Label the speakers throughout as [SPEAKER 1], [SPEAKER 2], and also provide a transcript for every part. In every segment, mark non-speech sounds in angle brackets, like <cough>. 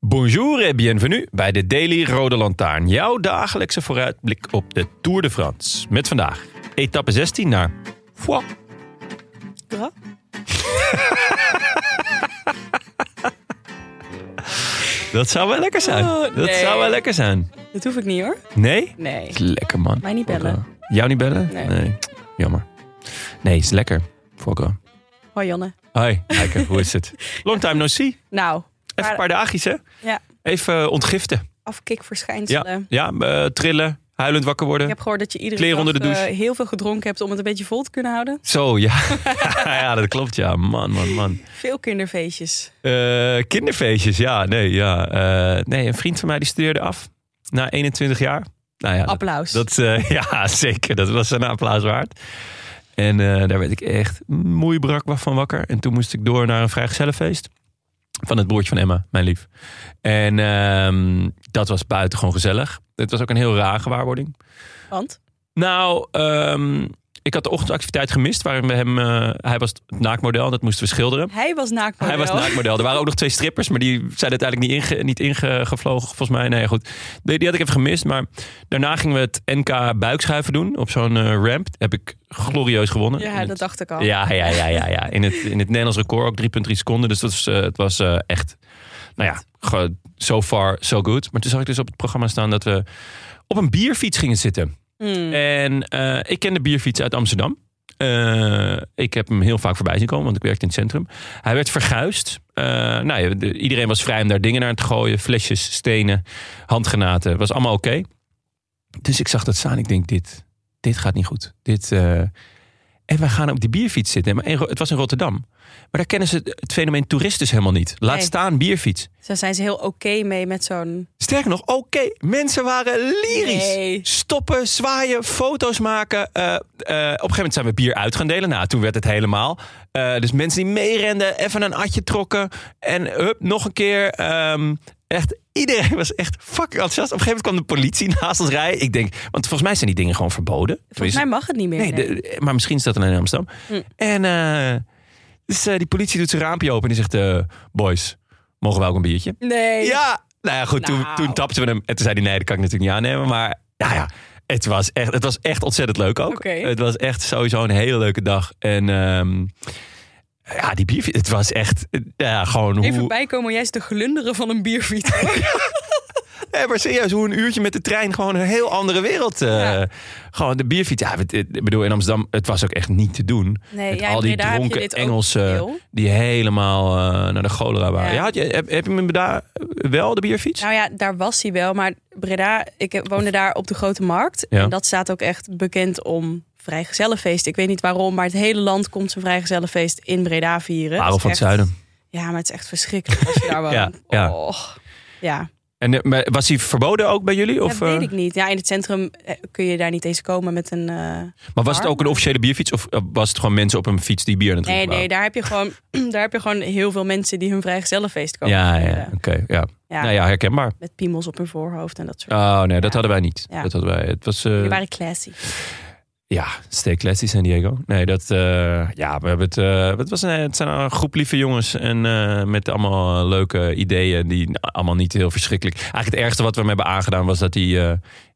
[SPEAKER 1] Bonjour et bienvenue bij de Daily Rode Lantaarn. Jouw dagelijkse vooruitblik op de Tour de France. Met vandaag etappe 16 naar Foix. Dat zou wel lekker zijn.
[SPEAKER 2] Oh,
[SPEAKER 1] Dat
[SPEAKER 2] nee.
[SPEAKER 1] zou wel lekker zijn.
[SPEAKER 2] Dat hoef ik niet hoor.
[SPEAKER 1] Nee?
[SPEAKER 2] Nee.
[SPEAKER 1] Lekker man.
[SPEAKER 2] Mij niet bellen.
[SPEAKER 1] Foie gras. Jou niet bellen?
[SPEAKER 2] Nee.
[SPEAKER 1] Jammer. Nee, is lekker. Foie gras.
[SPEAKER 2] Hoi Janne.
[SPEAKER 1] Hoi, Heike, hoe is
[SPEAKER 2] <laughs>
[SPEAKER 1] het? Long time no see. Even
[SPEAKER 2] Nou,
[SPEAKER 1] een
[SPEAKER 2] Maar-
[SPEAKER 1] paar dagjes hè?
[SPEAKER 2] ja,
[SPEAKER 1] Even eh, ontgiften.
[SPEAKER 2] afkikverschijnselen.
[SPEAKER 1] Ja, ja eh, trillen, huilend wakker worden.
[SPEAKER 2] Ik heb gehoord dat je iedere
[SPEAKER 1] Kleren
[SPEAKER 2] dag
[SPEAKER 1] onder de douche.
[SPEAKER 2] eh, heel veel gedronken hebt om het een beetje vol te kunnen houden.
[SPEAKER 1] Zo, ja. <laughs> ja, dat klopt, ja. Man, man, man.
[SPEAKER 2] Veel kinderfeestjes.
[SPEAKER 1] Eh, kinderfeestjes, ja. Nee, ja. Eh, nee, een vriend van mij die studeerde af. Na 21 jaar. Nou ja, dat,
[SPEAKER 2] Applaus.
[SPEAKER 1] dat, eh, <laughs> ja, zeker. Dat was een applaus waard. En eh, daar werd ik echt moeibrak van wakker. En toen moest ik door naar een vrijgezellenfeest. Van het broertje van Emma, mijn lief. En ehm, dat was buitengewoon gezellig. Het was ook een heel raar gewaarwording.
[SPEAKER 2] Want?
[SPEAKER 1] Nou, ehm, ik had de ochtendactiviteit gemist. Waarin we hem, eh, hij was het naakmodel en dat moesten we schilderen.
[SPEAKER 2] Hij was naakt.
[SPEAKER 1] Hij was naakmodel. Er waren ook nog twee strippers, maar die zijn uiteindelijk niet, inge, niet ingevlogen. Volgens mij, nee, goed. Die, die had ik even gemist. Maar daarna gingen we het NK buikschuiven doen op zo'n eh, ramp. Heb ik glorieus gewonnen. In
[SPEAKER 2] Ja,
[SPEAKER 1] het-
[SPEAKER 2] dat dacht ik al.
[SPEAKER 1] ja, ja, ja, ja, ja. In, het, in het Nederlands record ook 3,3 seconden. Dus dat was, eh, het was eh, echt, nou ja, ge- so far so good. Maar toen zag ik dus op het programma staan dat we op een bierfiets gingen zitten.
[SPEAKER 2] Hmm.
[SPEAKER 1] En eh, ik ken de bierfiets uit Amsterdam. Eh, ik heb hem heel vaak voorbij zien komen, want ik werkte in het centrum. Hij werd verguisd. Eh, nou, ja, de- iedereen was vrij om daar dingen naar te gooien. Flesjes, stenen, handgranaten. was allemaal oké. Dus ik zag dat staan. Ik denk, dit, dit gaat niet goed. Dit, eh, En wij gaan op die bierfiets zitten. Maar in Ro- het was in Rotterdam. Maar daar kennen ze het, het fenomeen toerist dus helemaal niet. Laat
[SPEAKER 2] Nee.
[SPEAKER 1] staan bierfiets.
[SPEAKER 2] Daar zijn ze heel oké mee met zo'n...
[SPEAKER 1] Sterker nog, oké, mensen waren lyrisch.
[SPEAKER 2] Nee.
[SPEAKER 1] Stoppen, zwaaien, foto's maken. Eh, eh, op een gegeven moment zijn we bier uit gaan delen. Nou, toen werd het helemaal. Eh, dus mensen die meerenden, even een atje trokken. En hup, nog een keer. Ehm, echt, iedereen was echt fucking enthousiast. Op een gegeven moment kwam de politie <laughs> naast ons rijden. Ik denk, want volgens mij zijn die dingen gewoon verboden.
[SPEAKER 2] Volgens mij mag het niet Hm.
[SPEAKER 1] Nee,
[SPEAKER 2] meer. nee.
[SPEAKER 1] de- maar misschien is dat alleen in Amsterdam. En eh, dus, eh, die politie doet zijn raampje open en die zegt... eh, boys, mogen we ook een biertje?
[SPEAKER 2] Nee.
[SPEAKER 1] Ja, nou ja, goed, toen,
[SPEAKER 2] Nou.
[SPEAKER 1] toen tapten we hem. En toen zei hij, nee, dat kan ik natuurlijk niet aannemen. Maar nou ja, het was echt, het was echt ontzettend leuk ook.
[SPEAKER 2] Oké.
[SPEAKER 1] Het was echt sowieso een hele leuke dag. En ehm, ja, die bier, het was echt, eh, ja, gewoon hoe...
[SPEAKER 2] Even bijkomen, jij is de glunderen van een bierfiets.
[SPEAKER 1] Nee, maar serieus, hoe een uurtje met de trein gewoon een heel andere wereld. eh,
[SPEAKER 2] Ja.
[SPEAKER 1] Gewoon de bierfiets. Ja, het- het- ik bedoel, in Amsterdam, het was ook echt niet te doen.
[SPEAKER 2] Nee,
[SPEAKER 1] met
[SPEAKER 2] ja,
[SPEAKER 1] al
[SPEAKER 2] in
[SPEAKER 1] die
[SPEAKER 2] Breda heb je
[SPEAKER 1] dronken
[SPEAKER 2] dit ook
[SPEAKER 1] Engelsen
[SPEAKER 2] veel.
[SPEAKER 1] die helemaal eh, naar de cholera waren.
[SPEAKER 2] Ja.
[SPEAKER 1] Ja. had je, heb, heb je hem daar wel, de bierfiets?
[SPEAKER 2] Nou ja, daar was hij wel. Maar Breda, ik woonde daar op de Grote Markt.
[SPEAKER 1] Ja.
[SPEAKER 2] En dat staat ook echt bekend om vrijgezellenfeest. Ik weet niet waarom, maar het hele land komt zijn vrijgezellenfeest in Breda vieren.
[SPEAKER 1] Parel
[SPEAKER 2] Het
[SPEAKER 1] van
[SPEAKER 2] is
[SPEAKER 1] het
[SPEAKER 2] echt-
[SPEAKER 1] Zuiden.
[SPEAKER 2] Ja, maar het is echt verschrikkelijk als je
[SPEAKER 1] <laughs>
[SPEAKER 2] daar woont.
[SPEAKER 1] Ja, ja.
[SPEAKER 2] Och. ja.
[SPEAKER 1] En eh, maar was hij verboden ook bij jullie? Of,
[SPEAKER 2] dat weet
[SPEAKER 1] eh,
[SPEAKER 2] ik niet. Ja, in het centrum eh, kun je daar niet eens komen met een... eh,
[SPEAKER 1] Maar was het
[SPEAKER 2] Bar?
[SPEAKER 1] ook een officiële bierfiets? Of eh, was het gewoon mensen op een fiets die bier aan het
[SPEAKER 2] Nee,
[SPEAKER 1] drinken
[SPEAKER 2] nee, daar heb, je gewoon, <clears throat> daar heb je gewoon heel veel mensen die hun vrijgezellenfeest komen.
[SPEAKER 1] waren? Ja, ja,
[SPEAKER 2] vieren.
[SPEAKER 1] oké. ja.
[SPEAKER 2] Ja,
[SPEAKER 1] Nou ja, herkenbaar.
[SPEAKER 2] Met piemels op hun voorhoofd en dat soort
[SPEAKER 1] Oh nee, dat
[SPEAKER 2] Ja.
[SPEAKER 1] hadden wij niet.
[SPEAKER 2] Ja.
[SPEAKER 1] Dat hadden wij. Het was... eh,
[SPEAKER 2] Die waren classy.
[SPEAKER 1] Ja, stay classy San Diego. Nee, dat... eh, ja, we hebben het... eh, het, was een, het zijn een groep lieve jongens. En eh, met allemaal eh, leuke ideeën. Die allemaal niet heel verschrikkelijk... Eigenlijk het ergste wat we hem hebben aangedaan was dat hij... eh,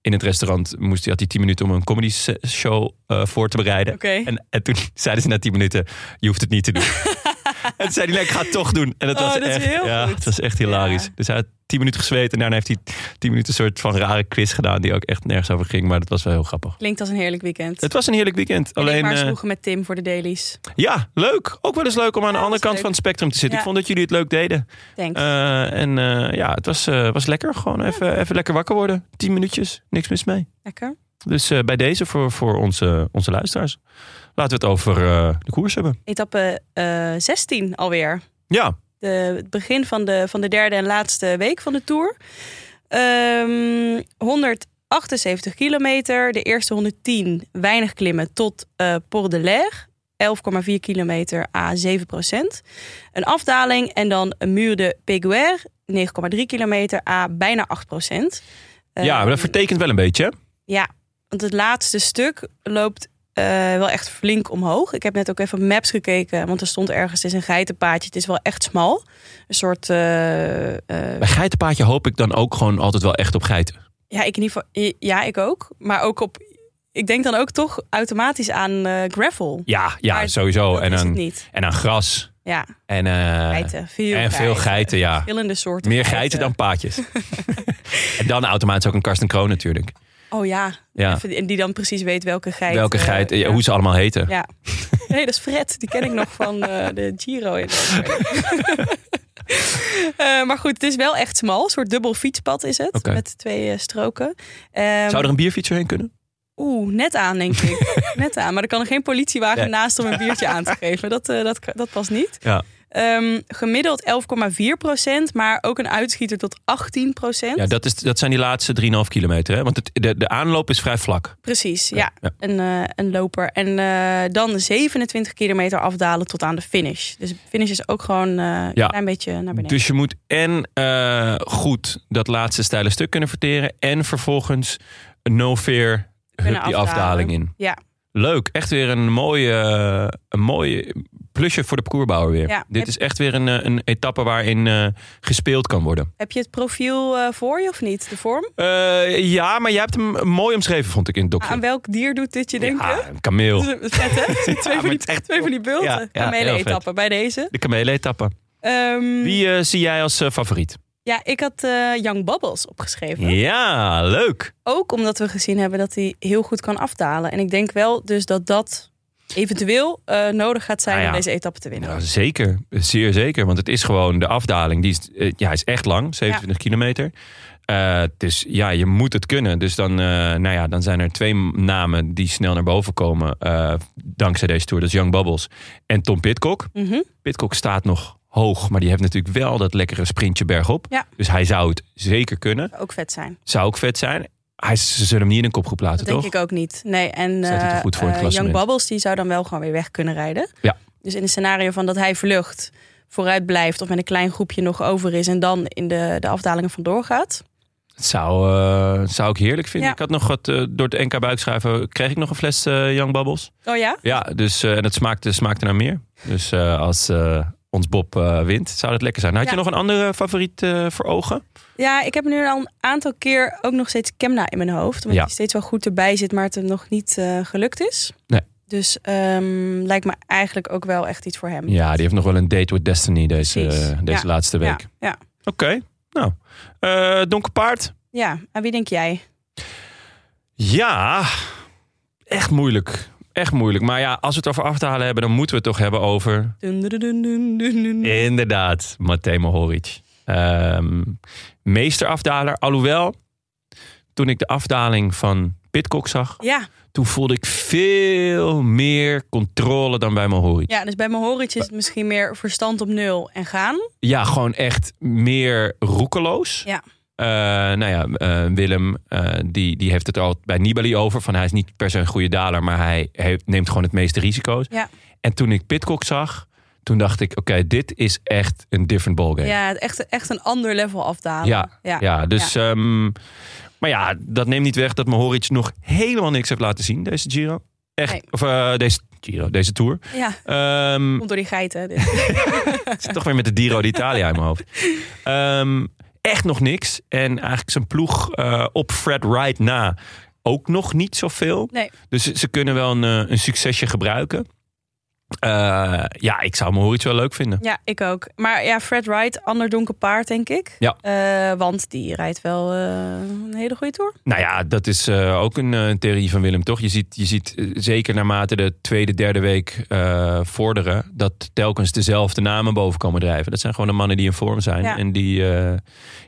[SPEAKER 1] in het restaurant moest hij, had hij 10 minuten om een comedy se- show eh, voor te bereiden.
[SPEAKER 2] Oké.
[SPEAKER 1] En, en toen zeiden ze na 10 minuten: Je hoeft het niet te
[SPEAKER 2] <laughs>
[SPEAKER 1] doen. en toen zei hij: nee, Ik ga het toch doen. En dat
[SPEAKER 2] Oh,
[SPEAKER 1] was
[SPEAKER 2] dat is
[SPEAKER 1] echt,
[SPEAKER 2] heel
[SPEAKER 1] ja,
[SPEAKER 2] goed.
[SPEAKER 1] Het was echt hilarisch.
[SPEAKER 2] Ja.
[SPEAKER 1] Dus hij had 10 minuten gezweten. En daarna heeft hij 10 minuten een soort van rare quiz gedaan. Die ook echt nergens over ging. Maar dat was wel heel grappig.
[SPEAKER 2] Klinkt als een heerlijk weekend.
[SPEAKER 1] Het was een heerlijk weekend.
[SPEAKER 2] En
[SPEAKER 1] Alleen,
[SPEAKER 2] ik
[SPEAKER 1] eh,
[SPEAKER 2] sloegen met Tim voor de dailies.
[SPEAKER 1] ja, leuk. Ook wel eens leuk om aan de andere
[SPEAKER 2] Ja, dat is
[SPEAKER 1] kant
[SPEAKER 2] leuk.
[SPEAKER 1] van het spectrum te zitten.
[SPEAKER 2] Ja.
[SPEAKER 1] Ik vond dat jullie het leuk deden.
[SPEAKER 2] Thanks.
[SPEAKER 1] Eh, en eh, ja, het was, eh, was lekker. Gewoon even, even lekker wakker worden. 10 minuutjes. Niks mis mee.
[SPEAKER 2] Lekker.
[SPEAKER 1] Dus eh, bij deze voor, voor onze, onze luisteraars. Laten we het over eh, de koers hebben.
[SPEAKER 2] Etappe eh 16 alweer.
[SPEAKER 1] Ja,
[SPEAKER 2] De, het begin van de, van de derde en laatste week van de Tour. Ehm 78 kilometer. De eerste 110 weinig klimmen tot eh Port de l'Air. 11,4 kilometer à 7 procent. Een afdaling en dan een muur de Péguer. 9,3 kilometer à bijna 8 procent. Eh, Ehm,
[SPEAKER 1] ja, maar dat vertekent wel een beetje. hè?
[SPEAKER 2] Ja, want het laatste stuk loopt eh, wel echt flink omhoog. Ik heb net ook even op maps gekeken, want er stond ergens, het is een geitenpaadje. Het is wel echt smal. Een soort, eh, eh,
[SPEAKER 1] Bij geitenpaadje hoop ik dan ook gewoon altijd wel echt op geiten.
[SPEAKER 2] ja, ik in ieder geval, ja, ik ook. Maar ook op, ik denk dan ook toch automatisch aan eh, gravel.
[SPEAKER 1] Ja, ja
[SPEAKER 2] Maar
[SPEAKER 1] sowieso.
[SPEAKER 2] dat
[SPEAKER 1] Oh, En
[SPEAKER 2] is het
[SPEAKER 1] aan,
[SPEAKER 2] niet.
[SPEAKER 1] en aan gras.
[SPEAKER 2] Ja,
[SPEAKER 1] En, eh,
[SPEAKER 2] geiten. Veel
[SPEAKER 1] en veel geiten, ja.
[SPEAKER 2] Verschillende soorten.
[SPEAKER 1] Meer geiten dan
[SPEAKER 2] <laughs>
[SPEAKER 1] paadjes. en dan automatisch ook een Karsten Kroon natuurlijk.
[SPEAKER 2] Oh ja,
[SPEAKER 1] Ja.
[SPEAKER 2] Even- en die dan precies weet welke geit.
[SPEAKER 1] Ah. Welke
[SPEAKER 2] eh,
[SPEAKER 1] geit, ja,
[SPEAKER 2] ja.
[SPEAKER 1] hoe ze allemaal heten.
[SPEAKER 2] Ja. <laughs> Nee, dat is Fred. Die ken ik nog van eh, de Giro. In <laughs> Eh, maar goed, het is wel echt smal. Een soort dubbel fietspad is het.
[SPEAKER 1] Oké.
[SPEAKER 2] Met twee eh, stroken. Ehm,
[SPEAKER 1] Zou er een bierfietser heen kunnen?
[SPEAKER 2] Oeh, net aan denk ik.
[SPEAKER 1] <laughs>
[SPEAKER 2] net aan. Maar er kan er geen politiewagen
[SPEAKER 1] Nee.
[SPEAKER 2] naast om een biertje aan te geven. Dat, eh, dat, dat past niet.
[SPEAKER 1] Ja.
[SPEAKER 2] Ehm, gemiddeld 11,4 procent. Maar ook een uitschieter tot 18 procent.
[SPEAKER 1] Ja, dat, is, dat zijn die laatste 3,5 kilometer. Hè? Want het, de, de aanloop is vrij vlak.
[SPEAKER 2] Precies, ja.
[SPEAKER 1] ja.
[SPEAKER 2] Een, eh, een loper. En eh, dan 27 kilometer afdalen tot aan de finish. Dus de finish is ook gewoon eh, een
[SPEAKER 1] Ja.
[SPEAKER 2] klein beetje naar beneden.
[SPEAKER 1] Dus je moet en eh, goed dat laatste steile stuk kunnen verteren. En vervolgens een no fear hup die
[SPEAKER 2] afdalen.
[SPEAKER 1] afdaling in.
[SPEAKER 2] Ja.
[SPEAKER 1] Leuk, echt weer een mooie, eh, een mooie plusje voor de parcoursbouwer weer.
[SPEAKER 2] Ja.
[SPEAKER 1] Dit
[SPEAKER 2] Heb-
[SPEAKER 1] is echt weer een, eh, een etappe waarin eh, gespeeld kan worden.
[SPEAKER 2] Heb je het profiel eh, voor je of niet? De vorm?
[SPEAKER 1] Eh, ja, maar jij hebt hem mooi omschreven, vond ik in het docje.
[SPEAKER 2] Aan welk dier doet dit je Ah, denken?
[SPEAKER 1] Ja, een
[SPEAKER 2] <laughs>
[SPEAKER 1] kameel.
[SPEAKER 2] Dat is Vet, hè? Twee,
[SPEAKER 1] maar
[SPEAKER 2] van die,
[SPEAKER 1] het is echt-
[SPEAKER 2] twee van die bulten.
[SPEAKER 1] Ja, ja, heel vet.
[SPEAKER 2] Kamelen-etappen bij deze.
[SPEAKER 1] De kamelen-etappe.
[SPEAKER 2] Ehm,
[SPEAKER 1] Wie eh, zie jij als eh, favoriet?
[SPEAKER 2] Ja, ik had eh, Young Bubbles opgeschreven.
[SPEAKER 1] Ja, leuk.
[SPEAKER 2] Ook omdat we gezien hebben dat hij heel goed kan afdalen. En ik denk wel dus dat dat eventueel eh, nodig gaat zijn
[SPEAKER 1] Nou ja.
[SPEAKER 2] om deze etappe te winnen.
[SPEAKER 1] Nou, zeker, zeer zeker. Want het is gewoon de afdaling. Die is, eh, ja, hij is echt lang, 27 kilometer. Eh, dus ja, je moet het kunnen. Dus dan, eh, nou ja, dan zijn er twee namen die snel naar boven komen eh, dankzij deze tour. Dat is Young Bubbles en Tom Pitcock.
[SPEAKER 2] Mhm.
[SPEAKER 1] Pitcock staat nog hoog, maar die heeft natuurlijk wel dat lekkere sprintje bergop.
[SPEAKER 2] Ja.
[SPEAKER 1] Dus hij zou het zeker kunnen.
[SPEAKER 2] Ook vet zijn.
[SPEAKER 1] Zou ook vet zijn. Hij, ze zullen hem niet in een kopgroep plaatsen,
[SPEAKER 2] Dat denk
[SPEAKER 1] toch?
[SPEAKER 2] ik ook niet. Nee, en
[SPEAKER 1] Staat hij te
[SPEAKER 2] eh,
[SPEAKER 1] goed voor in het
[SPEAKER 2] eh, Young
[SPEAKER 1] klassement?
[SPEAKER 2] Bubbles die zou dan wel gewoon weer weg kunnen rijden.
[SPEAKER 1] Ja.
[SPEAKER 2] Dus in het scenario van dat hij vlucht, vooruit blijft of met een klein groepje nog over is en dan in de, de afdalingen vandoor gaat.
[SPEAKER 1] Het zou, eh, zou ik heerlijk vinden.
[SPEAKER 2] Ja.
[SPEAKER 1] Ik had nog wat eh, door het NK buikschuiven. Kreeg ik nog een fles eh Young Bubbles?
[SPEAKER 2] Oh ja?
[SPEAKER 1] Ja, dus, eh, en het smaakte, smaakte naar meer. Dus eh, als eh, ons Bob eh, wint, zou dat lekker zijn. Had je
[SPEAKER 2] Ja.
[SPEAKER 1] nog een andere favoriet eh, voor ogen?
[SPEAKER 2] Ja, ik heb nu al een aantal keer ook nog steeds Kemna in mijn hoofd. Omdat
[SPEAKER 1] Ja.
[SPEAKER 2] hij steeds wel goed erbij zit, maar het hem nog niet eh, gelukt is.
[SPEAKER 1] Nee.
[SPEAKER 2] Dus ehm, lijkt me eigenlijk ook wel echt iets voor hem.
[SPEAKER 1] Ja, die heeft nog wel een date with destiny deze,
[SPEAKER 2] Precies.
[SPEAKER 1] eh, deze
[SPEAKER 2] Ja.
[SPEAKER 1] laatste
[SPEAKER 2] ja,
[SPEAKER 1] week.
[SPEAKER 2] ja.
[SPEAKER 1] Oké, nou. Eh donker paard.
[SPEAKER 2] Ja, aan wie denk jij?
[SPEAKER 1] Ja, echt moeilijk. Echt moeilijk. Maar ja, als we het over af te halen hebben, dan moeten we het toch hebben over...
[SPEAKER 2] Dun, dun, dun, dun, dun, dun.
[SPEAKER 1] Inderdaad, Matej Mohoric. Ehm, meesterafdaler. Alhoewel, toen ik de afdaling van Pitcock zag...
[SPEAKER 2] Ja,
[SPEAKER 1] toen voelde ik veel meer controle dan bij Mohoric. Ja,
[SPEAKER 2] Ja, dus bij mijn horentje is het misschien meer verstand op nul en gaan.
[SPEAKER 1] gewoon echt meer roekeloos.
[SPEAKER 2] Ja.
[SPEAKER 1] Eh, nou ja, eh, Willem, eh, die, die heeft het al bij Nibali over. Van hij is niet per se een goede daler, maar hij heeft- neemt gewoon het meeste risico's.
[SPEAKER 2] Ja.
[SPEAKER 1] En toen ik Pitcock zag, toen dacht ik, oké, dit is echt een different ballgame.
[SPEAKER 2] Ja, het echt, echt een ander level afdalen.
[SPEAKER 1] Ja, ja. dus... ehm, maar ja, dat neemt niet weg dat Mohoric nog helemaal niks heeft laten zien, deze Giro. Echt,
[SPEAKER 2] Nee.
[SPEAKER 1] of eh, deze Giro, deze Tour.
[SPEAKER 2] Ja,
[SPEAKER 1] Ehm,
[SPEAKER 2] komt door die geiten. dus.
[SPEAKER 1] <laughs>
[SPEAKER 2] dit.
[SPEAKER 1] Het zit toch weer met de Diro d'Italia in mijn hoofd. Ehm, echt nog niks. En eigenlijk zijn ploeg eh, op Fred Wright na ook nog niet zoveel.
[SPEAKER 2] Nee.
[SPEAKER 1] Dus ze, ze kunnen wel een, eh, een succesje gebruiken. Eh, ja, ik zou Mohoric wel leuk vinden.
[SPEAKER 2] Ja, ik ook. Maar ja, Fred Wright, ander donker paard, denk ik.
[SPEAKER 1] Ja.
[SPEAKER 2] Eh, want die rijdt wel eh, een hele goede tour.
[SPEAKER 1] Nou ja, dat is eh, ook een eh, theorie van Willem, toch? Je ziet, je ziet eh, zeker naarmate de tweede, derde week eh, vorderen... dat telkens dezelfde namen boven komen drijven. Dat zijn gewoon de mannen die in vorm zijn.
[SPEAKER 2] Ja.
[SPEAKER 1] En die, eh,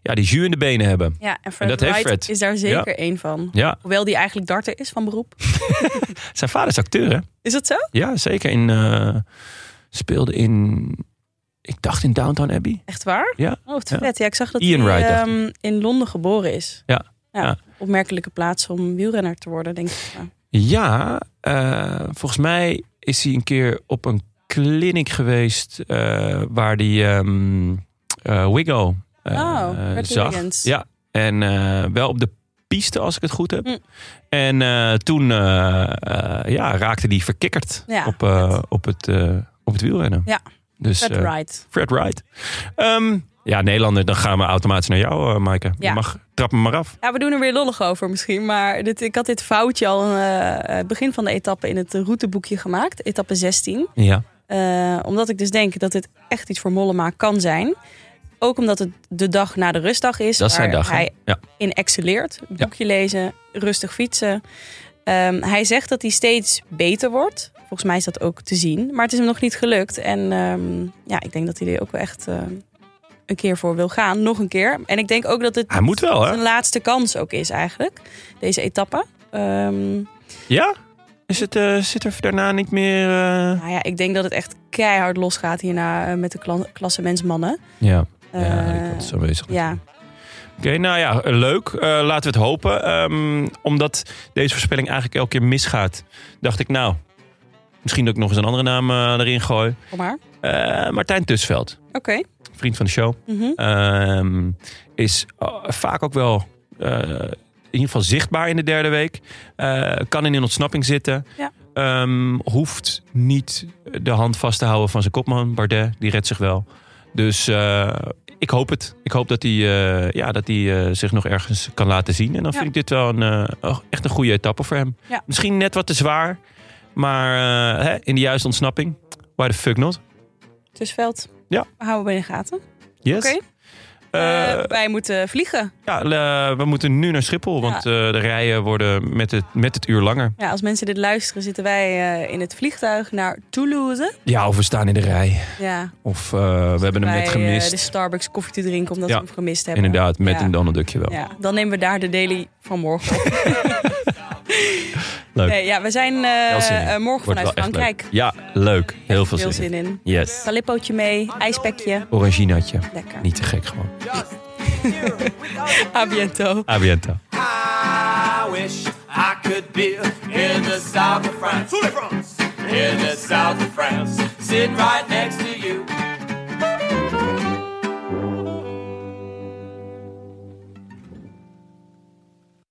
[SPEAKER 1] ja, die jus in de benen hebben.
[SPEAKER 2] Ja, en Fred
[SPEAKER 1] dat heeft
[SPEAKER 2] Wright
[SPEAKER 1] Fred.
[SPEAKER 2] is daar zeker één van.
[SPEAKER 1] Ja,
[SPEAKER 2] Hoewel die eigenlijk darter is van beroep.
[SPEAKER 1] zijn vader is acteur, hè?
[SPEAKER 2] Is dat zo?
[SPEAKER 1] Ja, zeker. In, eh, speelde in. Ik dacht in Downtown Abbey.
[SPEAKER 2] Echt waar?
[SPEAKER 1] Ja.
[SPEAKER 2] Oh, wat
[SPEAKER 1] Ja.
[SPEAKER 2] vet. Ja, ik zag dat
[SPEAKER 1] Ian
[SPEAKER 2] hij
[SPEAKER 1] Wright, dacht
[SPEAKER 2] ehm, in Londen geboren is.
[SPEAKER 1] Ja.
[SPEAKER 2] Ja,
[SPEAKER 1] Ja.
[SPEAKER 2] Opmerkelijke plaats om wielrenner te worden, denk ik. Ja.
[SPEAKER 1] Ja, eh, volgens mij is hij een keer op een clinic geweest eh, waar die ehm eh, Wiggo eh,
[SPEAKER 2] Oh, Bradley
[SPEAKER 1] zag.
[SPEAKER 2] Wiggins.
[SPEAKER 1] Ja, en eh, wel op de piste als ik het goed heb.
[SPEAKER 2] Mm.
[SPEAKER 1] En eh, toen eh, eh, ja, raakte die verkikkerd
[SPEAKER 2] Ja,
[SPEAKER 1] op, eh,
[SPEAKER 2] vet.
[SPEAKER 1] op, het, eh, op het wielrennen.
[SPEAKER 2] Ja,
[SPEAKER 1] dus,
[SPEAKER 2] Fred
[SPEAKER 1] eh,
[SPEAKER 2] Wright.
[SPEAKER 1] Fred Wright. Ehm, ja, Nederlander, dan gaan we automatisch naar jou, eh, Maaike.
[SPEAKER 2] Ja.
[SPEAKER 1] Je mag, trap me maar af.
[SPEAKER 2] Ja, we doen er weer lollig over misschien. Maar dit, ik had dit foutje al eh, begin van de etappe in het routeboekje gemaakt. Etappe 16.
[SPEAKER 1] Ja.
[SPEAKER 2] Eh, omdat ik dus denk dat dit echt iets voor Mollema kan zijn. Ook omdat het de dag na de rustdag is.
[SPEAKER 1] Dat is zijn
[SPEAKER 2] waar
[SPEAKER 1] dag, hè?
[SPEAKER 2] Hij
[SPEAKER 1] Ja.
[SPEAKER 2] in excelleert. Boekje lezen, rustig fietsen. Ehm, hij zegt dat hij steeds beter wordt. Volgens mij is dat ook te zien. Maar het is hem nog niet gelukt. En ehm, ja, ik denk dat hij er ook wel echt ehm, een keer voor wil gaan. Nog een keer. En ik denk ook dat het
[SPEAKER 1] Hij moet wel, hè?
[SPEAKER 2] zijn laatste kans ook is eigenlijk. Deze etappe. Ehm,
[SPEAKER 1] Ja? Is het, eh, zit er daarna niet meer... eh,
[SPEAKER 2] nou ja, ik denk dat het echt keihard losgaat hierna eh, met de kla klassementsmannen.
[SPEAKER 1] Ja,
[SPEAKER 2] Eh,
[SPEAKER 1] ja dat is aanwezig.
[SPEAKER 2] ja.
[SPEAKER 1] Oké, nou ja, leuk. Eh, laten we het hopen. Ehm, omdat deze voorspelling eigenlijk elke keer misgaat, dacht ik nou... Misschien dat ik nog eens een andere naam eh, erin gooi.
[SPEAKER 2] Kom maar.
[SPEAKER 1] Eh, Martijn Tusveld,
[SPEAKER 2] Oké.
[SPEAKER 1] vriend van de show.
[SPEAKER 2] Mhm.
[SPEAKER 1] Ehm, is eh, vaak ook wel eh, in ieder geval zichtbaar in de derde week. Eh, kan in een ontsnapping zitten.
[SPEAKER 2] Ja.
[SPEAKER 1] Ehm, hoeft niet de hand vast te houden van zijn kopman, Bardet. Die redt zich wel. Dus eh, ik hoop het. Ik hoop dat hij eh, ja, dat hij eh, zich nog ergens kan laten zien. En dan
[SPEAKER 2] Ja.
[SPEAKER 1] vind ik dit wel een, eh, oh, echt een goede etappe voor hem.
[SPEAKER 2] Ja.
[SPEAKER 1] Misschien net wat te zwaar. Maar eh, hè, in de juiste ontsnapping. Why the fuck not?
[SPEAKER 2] Tussenveld.
[SPEAKER 1] Ja.
[SPEAKER 2] We houden we in de gaten. Oké.
[SPEAKER 1] Yes. Eh,
[SPEAKER 2] Eh, wij moeten vliegen.
[SPEAKER 1] Ja, le- we moeten nu naar Schiphol, want eh, de rijen worden met het, met het uur langer.
[SPEAKER 2] Ja, als mensen dit luisteren, zitten wij eh, in het vliegtuig naar Toulouse.
[SPEAKER 1] Ja, of we staan in de rij.
[SPEAKER 2] Ja.
[SPEAKER 1] Of eh, we hebben hem
[SPEAKER 2] Bij,
[SPEAKER 1] net
[SPEAKER 2] eh,
[SPEAKER 1] gemist.
[SPEAKER 2] de Starbucks koffie te drinken, omdat
[SPEAKER 1] Ja,
[SPEAKER 2] we hem gemist hebben.
[SPEAKER 1] Inderdaad, met
[SPEAKER 2] Ja.
[SPEAKER 1] een donaldukje wel.
[SPEAKER 2] Ja, dan nemen we daar de daily van morgen op.
[SPEAKER 1] Leuk.
[SPEAKER 2] Nee, ja, we zijn eh,
[SPEAKER 1] Wel zin in.
[SPEAKER 2] eh, morgen
[SPEAKER 1] Wordt wel echt leuk.
[SPEAKER 2] vanuit Frankrijk.
[SPEAKER 1] Ja, leuk. Heel veel
[SPEAKER 2] Veel
[SPEAKER 1] zin in.
[SPEAKER 2] zin in.
[SPEAKER 1] Yes.
[SPEAKER 2] Calippootje mee, ijspekje.
[SPEAKER 1] Oranginaatje.
[SPEAKER 2] Lekker.
[SPEAKER 1] Niet te gek gewoon.
[SPEAKER 2] A biento.
[SPEAKER 1] Abiento.
[SPEAKER 3] I wish I could be in the south of France. In the south of France. Sitting right next to